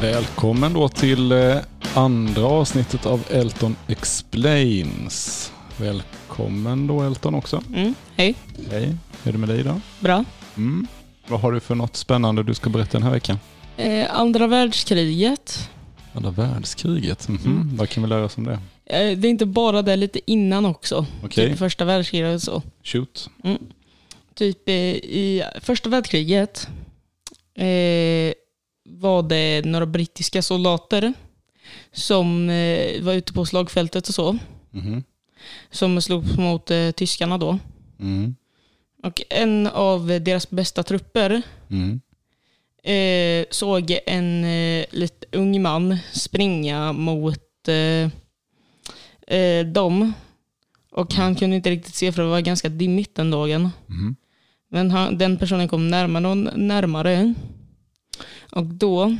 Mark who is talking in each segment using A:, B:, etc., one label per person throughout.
A: Välkommen då till eh, andra avsnittet av Elton Explains. Välkommen då Elton också.
B: Mm, hej,
A: Hej, hur är det med dig idag?
B: bra.
A: Mm. Vad har du för något spännande du ska berätta den här veckan?
B: Eh, andra världskriget.
A: Andra världskriget, Mhm.
B: Mm.
A: vad kan vi lära oss om det?
B: Eh, det är inte bara det, lite innan också.
A: Okej,
B: Typ första världskriget och så.
A: shoot.
B: Typ eh, i första världskriget eh, var det några brittiska soldater som eh, var ute på slagfältet och så.
A: Mhm.
B: Som slogs mot eh, tyskarna då.
A: Mm.
B: Och en av deras bästa trupper
A: Mm.
B: eh, såg en eh, lite ung man springa mot eh, eh, dem. Och han kunde inte riktigt se för det var ganska dimmigt den dagen.
A: Mhm.
B: Men han, den personen kom närmare och närmare. Och då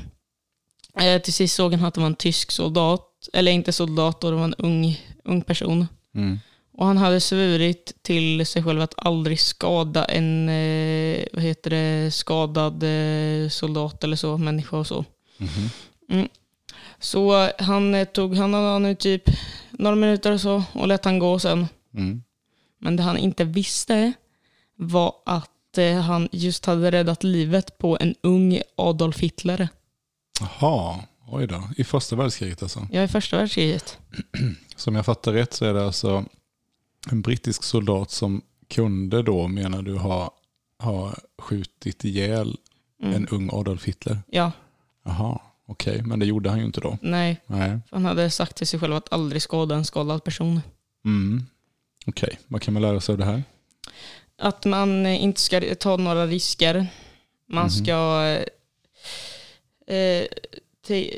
B: eh, till sist såg han att det var en tysk soldat. Eller inte soldat, då, det var en ung, ung person.
A: Mm.
B: Och han hade svurit till sig själv att aldrig skada en eh, vad heter det, skadad eh, soldat eller så, människa och så. Mm.
A: Mhm.
B: Så han eh, tog han han nu typ några minuter och så och lät han gå sen.
A: Mm.
B: Men det han inte visste var att eh, han just hade räddat livet på en ung Adolf Hitler.
A: Jaha, oj då. I första världskriget alltså.
B: Jag är första världskriget.
A: Som jag fattar rätt så är det alltså en brittisk soldat som kunde då, menar du, ha, ha skjutit ihjäl
B: Mm.
A: en ung Adolf Hitler.
B: Ja,
A: Jaha, okej, men det gjorde han ju inte då.
B: nej.
A: Nej.
B: Han hade sagt till sig själv att aldrig skada en skadad person.
A: Mm. Okej, vad kan man lära sig av det här?
B: Att man eh, inte ska ta några risker. Man
A: Mhm.
B: ska... eh, Eh, te,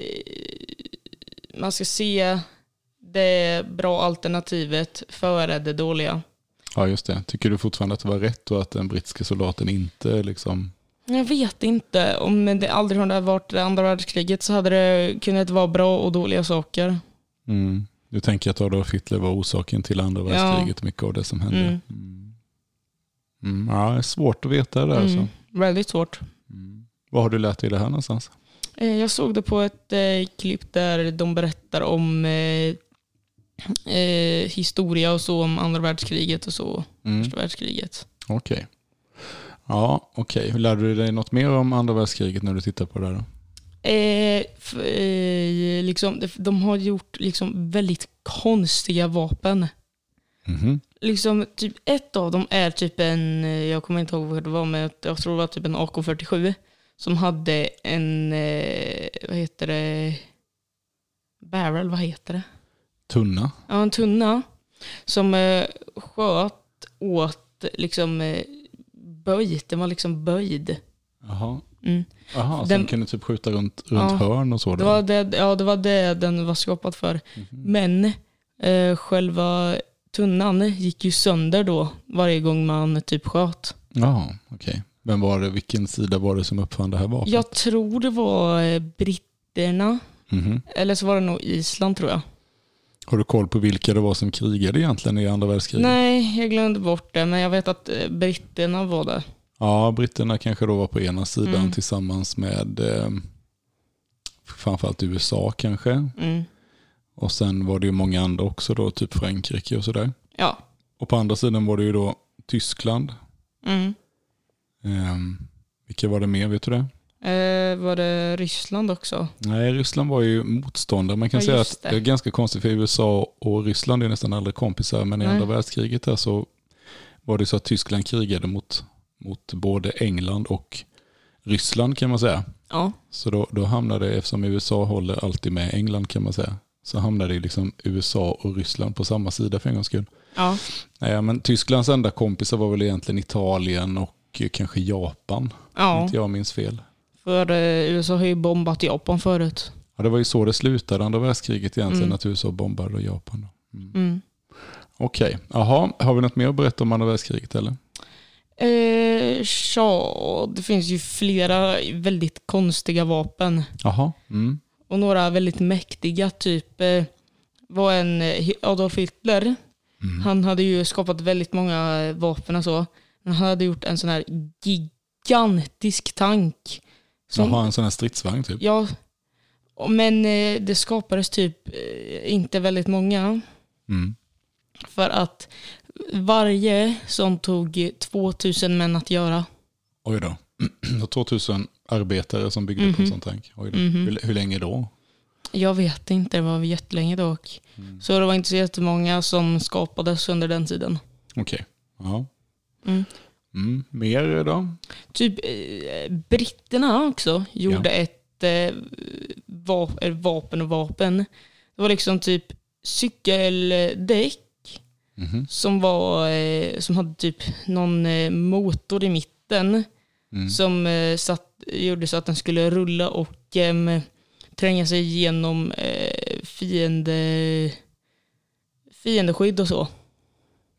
B: man ska se det bra alternativet före det dåliga.
A: Ja, just det. Tycker du fortfarande att det var rätt och att den brittiska soldaten inte liksom...
B: Jag vet inte. Om det aldrig hade varit det andra världskriget så hade det kunnat vara bra och dåliga saker.
A: Mm. Du tänker att Adolf Hitler var orsaken till andra världskriget, mycket av det som hände.
B: Mm.
A: Mm. Mm. Ja, det är svårt att veta det där
B: Mm,
A: alltså.
B: Väldigt svårt.
A: Mm. Vad har du lärt dig det här någonstans?
B: Eh, Jag såg det på ett eh, klipp där de berättar om eh, eh, historia och så om andra världskriget och så.
A: Mm.
B: Första världskriget.
A: Okej. Ja, okej. Lärde du dig något mer om andra världskriget när du tittar på det här? Då?
B: Eh, f- eh, liksom, de- de har gjort liksom väldigt konstiga vapen.
A: Mhm.
B: Liksom, typ ett av dem är typ en, eh, jag kommer inte ihåg vad det var, men jag tror det var typ en AK47 som hade en, eh, vad heter det, barrel, vad heter det?
A: Tunna.
B: Ja, en tunna som eh, sköt åt liksom eh, böjt, den var liksom böjd.
A: Jaha.
B: Mm.
A: Jaha, så
B: Den-
A: den kunde typ skjuta runt, runt
B: Ja.
A: hörn och så? Då.
B: Det var det, ja, det var det den var skapad för.
A: Mhm.
B: Men eh, själva tunnan gick ju sönder då varje gång man typ sköt.
A: Ja, okej. Vem var det, vilken sida var det som uppfann det här vapnet?
B: Jag tror det var eh, britterna,
A: Mhm.
B: eller så var det nog Island tror jag.
A: Har du koll på vilka det var som krigade egentligen i andra världskriget?
B: Nej, jag glömde bort det, men jag vet att eh, britterna var där.
A: Ja, britterna kanske då var på ena sidan
B: Mm.
A: tillsammans med eh, framförallt USA kanske.
B: Mm.
A: Och sen var det ju många andra också då, typ Frankrike och sådär.
B: Ja.
A: Och på andra sidan var det ju då Tyskland,
B: Mm.
A: Ehm, vilka var det mer, vet du det?
B: Eh, var det Ryssland också?
A: Nej, Ryssland var ju motståndare. Man kan
B: Ja,
A: säga
B: just
A: att det.
B: det.
A: är ganska konstigt för USA och Ryssland är nästan aldrig kompisar, men i
B: Nej.
A: andra världskriget här så var det så att Tyskland krigade mot, mot både England och Ryssland kan man säga.
B: Ja.
A: Så då, då hamnade, eftersom USA håller alltid med England kan man säga, så hamnade ju liksom USA och Ryssland på samma sida för en gångs skull.
B: Ja.
A: Nej, men Tysklands enda kompisar var väl egentligen Italien och eh, kanske Japan, om
B: ja.
A: inte jag minns fel.
B: För eh, USA har ju bombat Japan förut.
A: Ja, det var ju så det slutade, andra världskriget egentligen,
B: Mm.
A: att USA bombade och Japan. Då. Mm.
B: Mm.
A: Okej, jaha, har vi något mer att berätta om andra världskriget eller?
B: Eh, ja, det finns ju flera väldigt konstiga vapen.
A: Jaha, mm.
B: Och några väldigt mäktiga, typ eh, var en eh, Adolf Hitler.
A: Mm.
B: Han hade ju skapat väldigt många eh, vapen och så. Men han hade gjort en sån här gigantisk tank. Som, Mm.
A: jaha en sån här stridsvagn typ.
B: Ja. Och- Men eh, det skapades typ eh, inte väldigt många.
A: Mm.
B: För att varje som tog 2000 män att göra.
A: Oj då. Och 2000 arbetare som byggde upp en
B: Mhm.
A: sån tank. Oj då.
B: Mhm.
A: Hur, hur länge då?
B: Jag vet inte, det var jättelänge dock.
A: Mm.
B: Så det var inte så jättemånga som skapades under den tiden.
A: Okej. Ja.
B: Mm.
A: Mm. Mer då?
B: Typ eh, britterna också gjorde ett eh, va- eh, vapen och vapen. Det var liksom typ cykeldäck
A: Mhm.
B: som, var, eh, som hade typ någon eh, motor i mitten.
A: Mm.
B: som eh, satt, gjorde så att den skulle rulla och ehm, tränga sig igenom eh, fiende, fiendeskydd och så.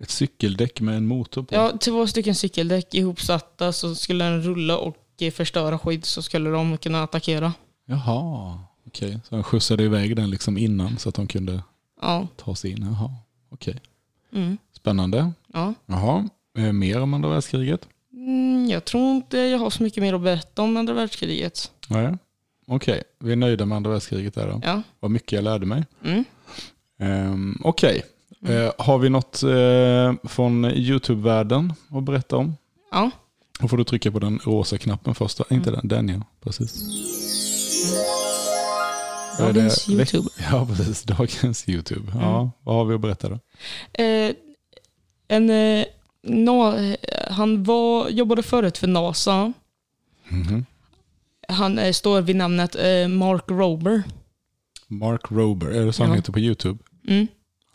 A: Ett cykeldäck med en motor på.
B: Ja, två stycken cykeldäck ihopsatta så skulle den rulla och eh, förstöra skydd så skulle de kunna attackera.
A: Jaha. Okej. Så han skjutsade iväg den liksom innan så att de kunde
B: Ja.
A: ta sig in. Jaha. Okej.
B: Mm.
A: Spännande.
B: ja.
A: Jaha. Eh, Mer om andra världskriget?
B: Mm, jag tror inte jag har så mycket mer att berätta om andra världskriget.
A: Nej. Okej, vi är nöjda med andra världskriget där då.
B: Ja.
A: Vad mycket jag lärde mig.
B: Mm.
A: Ehm, Okej,
B: Mm.
A: Eh, har vi något eh, från YouTube-världen att berätta om?
B: Ja.
A: Då får du trycka på den rosa knappen först. va? Inte
B: Mm.
A: den, den ja. Precis. Vad är det?
B: Dagens YouTube. Mm.
A: Ja, precis. Dagens YouTube. Ja, vad har vi att berätta då?
B: Eh, en, eh, no, han var, jobbade förut för NASA.
A: Mhm.
B: Han eh, står vid namnet eh, Mark Rober.
A: Mark Rober, är det så han
B: Ja.
A: heter på YouTube?
B: Mm.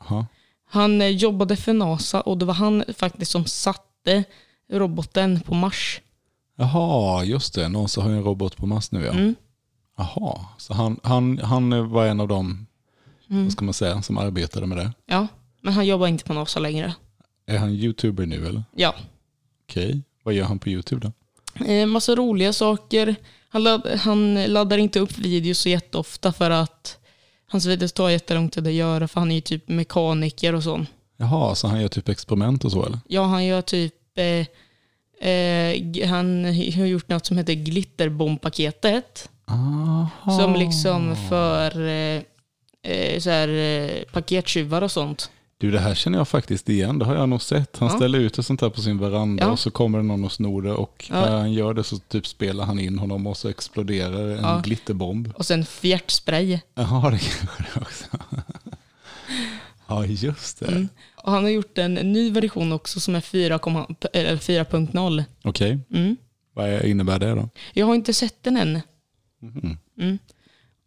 A: Jaha.
B: Han eh, jobbade för NASA och det var han faktiskt som satte roboten på Mars.
A: Jaha, just det. Någon så har ju en robot på Mars nu ja.
B: Mm.
A: Jaha, så han, han, han var en av dem,
B: Mm.
A: vad ska man säga, som arbetade med det.
B: Ja, men han jobbar inte på NASA längre.
A: Är han YouTuber nu eller?
B: Ja,
A: Okej, vad gör han på YouTube då?
B: eh, massa roliga saker. Han, ladd, han laddar inte upp videos så jätteofta för att hans videos tar jättelång tid att göra för han är ju typ mekaniker och sånt.
A: Jaha, så han gör typ experiment och så eller?
B: Ja, han gör typ... Eh, eh, g- han har gjort något som heter glitterbombpaketet.
A: Aha.
B: Som liksom för eh, eh, så här, eh, pakettjuvar och sånt.
A: Du, det här känner jag faktiskt igen. Det har jag nog sett. Han
B: Ja.
A: ställer ut ett sånt här på sin veranda
B: Ja.
A: och så kommer det någon och snor det och
B: Ja.
A: när han gör det så typ spelar han in honom och så exploderar en
B: Ja.
A: glitterbomb.
B: Och sen fjärtspray.
A: Jaha, det kanske det också. ja, just det.
B: Mm. Och han har gjort en ny version också som är 4,0, eller 4.0.
A: Okej,
B: Mm.
A: vad innebär det då?
B: Jag har inte sett den än.
A: Mhm.
B: Mm.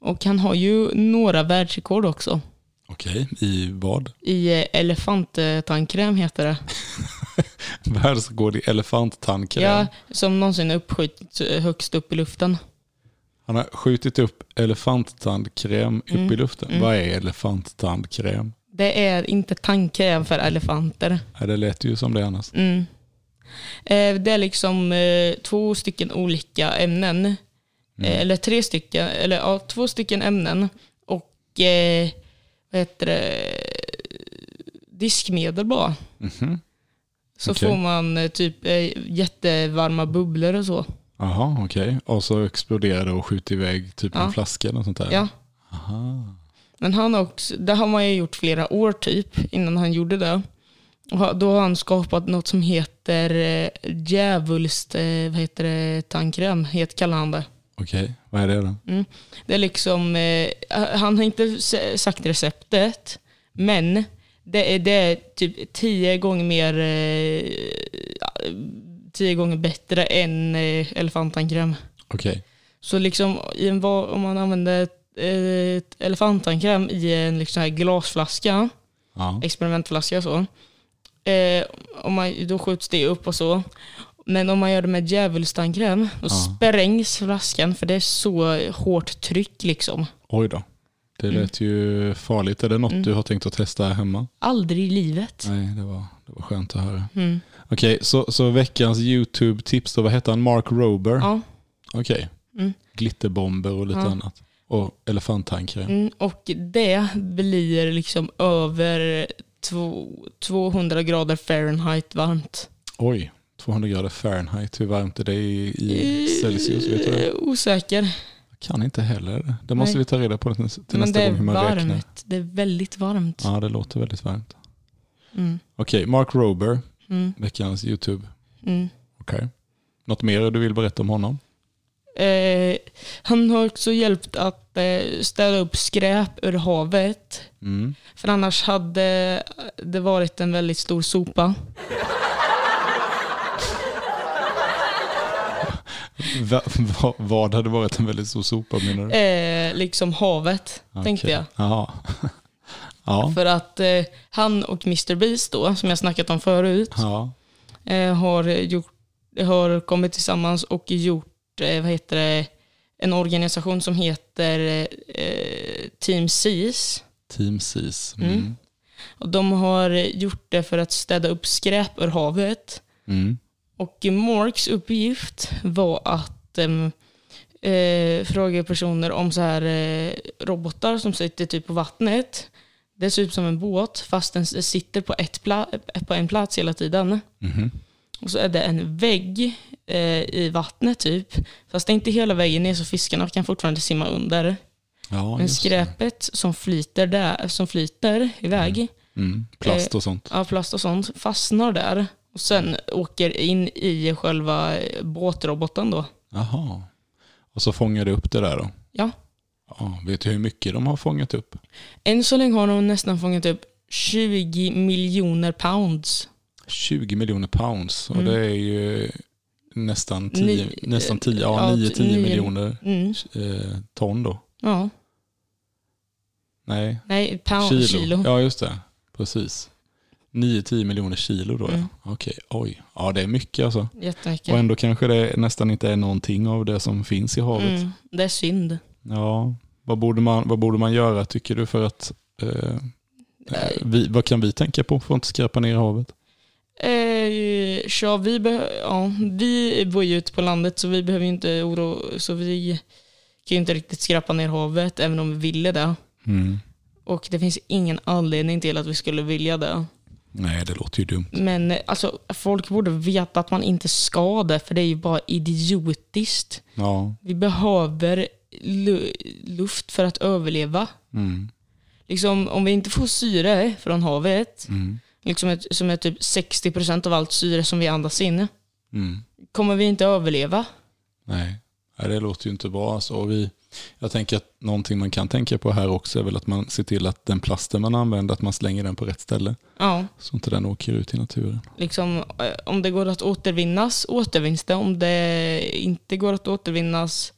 B: Och han har ju några världsrekord också.
A: Okej, i vad?
B: I eh, elefanttandkräm heter det.
A: Världsrekord i elefanttandkräm.
B: Ja, som någonsin har uppskjutits eh, högst upp i luften.
A: Han har skjutit upp elefanttandkräm upp
B: Mm,
A: i luften.
B: mm.
A: Vad är elefanttandkräm?
B: Det är inte tandkräm för elefanter.
A: Ja, det lät ju som det annars.
B: Mm. Eh, Det är liksom eh, två stycken olika ämnen.
A: Mm.
B: Eh, Eller tre stycken, eller ja, två stycken ämnen. Och eh, vad heter det? Diskmedel bara.
A: Mhm.
B: Så
A: Okej.
B: får man eh, typ eh, jättevarma bubblor och så.
A: Jaha, okej. Och så exploderar det och skjuter iväg typ en
B: Ja.
A: flaska eller något sånt där.
B: Ja.
A: Aha.
B: Men han har också, det har man ju gjort flera år typ innan han gjorde det. Och ha- då har han skapat något som heter eh, djävulskt, eh, vad heter det, tandkräm, het kallar han det.
A: Okej, vad är det då?
B: Det är liksom, eh, han har inte s- sagt receptet, men det är, det är typ tio gånger mer, eh, tio gånger bättre än eh, elefanttandkräm.
A: Okej.
B: Så liksom i en, va- om man använder ett, ett elefanttandkräm i en liksom här glasflaska,
A: Ja.
B: experimentflaska och så, eh, om man, då skjuts det upp och så. Men om man gör det med djävulstandkräm, då
A: Ja.
B: sprängs flaskan för det är så hårt tryck liksom.
A: Oj då. Det
B: Mm.
A: lät ju farligt. Är det något du har tänkt att testa här hemma?
B: Aldrig i livet.
A: Nej, det var, det var skönt att höra.
B: Mm.
A: Okej, så, så veckans YouTube-tips då. Vad hette han? Mark Rober?
B: Ja.
A: Okej.
B: Mm.
A: Glitterbomber och lite
B: Ja.
A: annat. Och elefanttandkräm.
B: Mm. Och det blir liksom över två- 200 grader Fahrenheit varmt.
A: Oj, 200 grader Fahrenheit. Hur varmt är det i, i Celsius? Vet du det?
B: Eh, Osäker.
A: Kan inte heller. Det måste
B: Nej.
A: vi ta reda på till nästa
B: Men det är
A: gång hur man räknar.
B: varmt. Det är väldigt varmt.
A: Ja, det låter väldigt varmt.
B: Mm.
A: Okej, Mark Rober,
B: Mm.
A: veckans YouTube.
B: Mm.
A: Okej. Något mer du vill berätta om honom?
B: Eh, han har också hjälpt att eh, städa upp skräp ur havet.
A: Mm.
B: För annars hade det varit en väldigt stor sopa.
A: Va, va, vad hade varit en väldigt stor sopa menar du?
B: Eh, liksom havet, tänkte
A: Mm. Okej.
B: jag.
A: Ja. ja.
B: För att eh, han och Mr Beast då, som jag snackat om förut,
A: ja.
B: eh, har, gjort, har kommit tillsammans och gjort eh, vad heter det, en organisation som heter eh, Team Seas.
A: Team Seas.
B: Mm. Och de har gjort det för att städa upp skräp ur havet.
A: Mm.
B: Och Morks uppgift var att ehm, eh, fråga personer om så här eh, robotar som sitter typ på vattnet. Det ser ut som en båt fast den s- sitter på, ett pla- på en plats hela tiden.
A: Mhm.
B: Och så är det en vägg eh, i vattnet typ. Fast det är inte hela väggen ner så fiskarna kan fortfarande simma under.
A: Ja,
B: Men
A: just det.
B: skräpet som flyter, där, som flyter iväg
A: Mm. Plast
B: Eh.
A: och sånt.
B: Ja, plast och sånt fastnar där och sen åker in i själva eh, båtroboten då.
A: Jaha. Och så fångar du upp det där då?
B: Ja.
A: ja. Vet du hur mycket de har fångat upp?
B: Än så länge har de nästan fångat upp 20 miljoner pounds.
A: 20 miljoner pounds. Och
B: Mm.
A: det är ju nästan 10,
B: Ni-
A: nästan 10,
B: ja,
A: ja, 9, 10
B: nio-
A: miljoner
B: Mm.
A: eh, ton då.
B: Ja.
A: Nej,
B: Nej, pound,
A: kilo.
B: kilo.
A: Ja, just det. Precis. 9-10 miljoner kilo då,
B: Mm.
A: ja. Okej, oj. Ja, det är mycket alltså.
B: Jättemycket.
A: Och ändå kanske det nästan inte är någonting av det som finns i havet.
B: Mm. Det är synd.
A: Ja, vad borde, man, vad borde man göra tycker du för att... Eh, eh, vi, vad kan vi tänka på för att inte skräpa ner i havet?
B: Eh, så vi, beh- ja, vi bor ju ute på landet så vi behöver ju inte oroa så vi kan ju inte riktigt skrapa ner havet även om vi ville det.
A: Mm.
B: Och det finns ingen anledning till att vi skulle vilja det.
A: Nej, det låter ju dumt.
B: Men eh, alltså, folk borde veta att man inte ska det, för det är ju bara idiotiskt.
A: Ja.
B: Vi behöver lu- luft för att överleva.
A: Mm.
B: Liksom, om vi inte får syre från havet,
A: Mm.
B: liksom ett, som är typ 60% av allt syre som vi andas in,
A: Mm.
B: kommer vi inte överleva.
A: Nej. Nej, det låter ju inte bra. Alltså, och vi, jag tänker att någonting man kan tänka på här också är väl att man ser till att den plasten man använder, att man slänger den på rätt ställe.
B: Ja,
A: Så inte den åker ut i naturen.
B: liksom, eh, om det går att återvinnas, återvinns det. Om det inte går att återvinnas,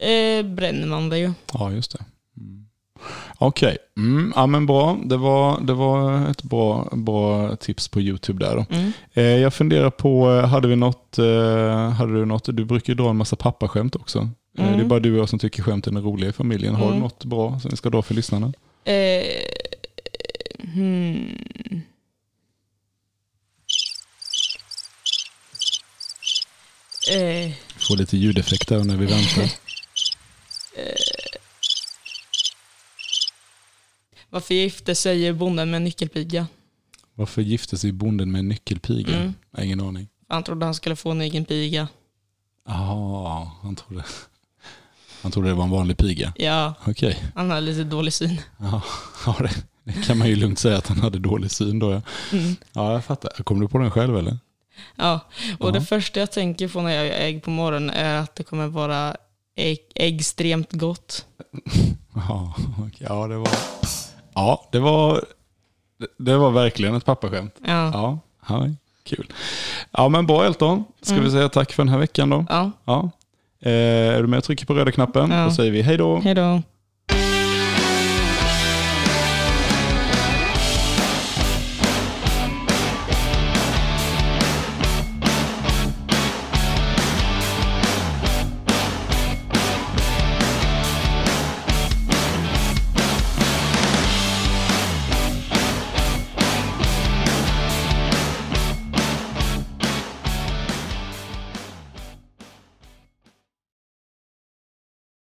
B: eh, bränner man det ju.
A: Ja, just det. Mm. Okej, mm, ja, men bra. Det var, det var ett bra, bra tips på YouTube där då.
B: Mm.
A: Eh, Jag funderar på, eh, hade vi något, eh, hade du något, du brukar ju dra en massa pappaskämt också. Eh,
B: Mm.
A: Det är bara du och jag som tycker skämten är roliga i familjen. Har
B: Mm.
A: du något bra som vi ska dra för lyssnarna?
B: Eh, hmm. Eh,
A: Få lite ljudeffekter när vi väntar.
B: varför gifte sig bonden med en nyckelpiga?
A: Varför gifte sig bonden med en nyckelpiga?
B: Mm.
A: Jag har Ingen aning.
B: Han trodde han skulle få en egen piga.
A: Ah, han trodde, han trodde det var en vanlig piga.
B: Ja,
A: Okej,
B: han hade lite dålig syn.
A: ja, ja, det, det kan man ju lugnt säga att han hade dålig syn då. Ja,
B: Mm.
A: ja jag fattar. Kom du på den själv eller?
B: Ja, och det
A: Ja.
B: första jag tänker på när jag gör ägg på morgonen är att det kommer vara ägg, extremt gott.
A: Ja, okej. ja, det var, ja, det var, det, det var verkligen ett pappaskämt.
B: Ja,
A: Ja, ja kul. Ja, men bra Elton. Ska vi säga tack för den här veckan då?
B: ja.
A: Ja. Eh, är du med och trycker på röda knappen?
B: Ja.
A: Då säger vi hej då.
B: hej då.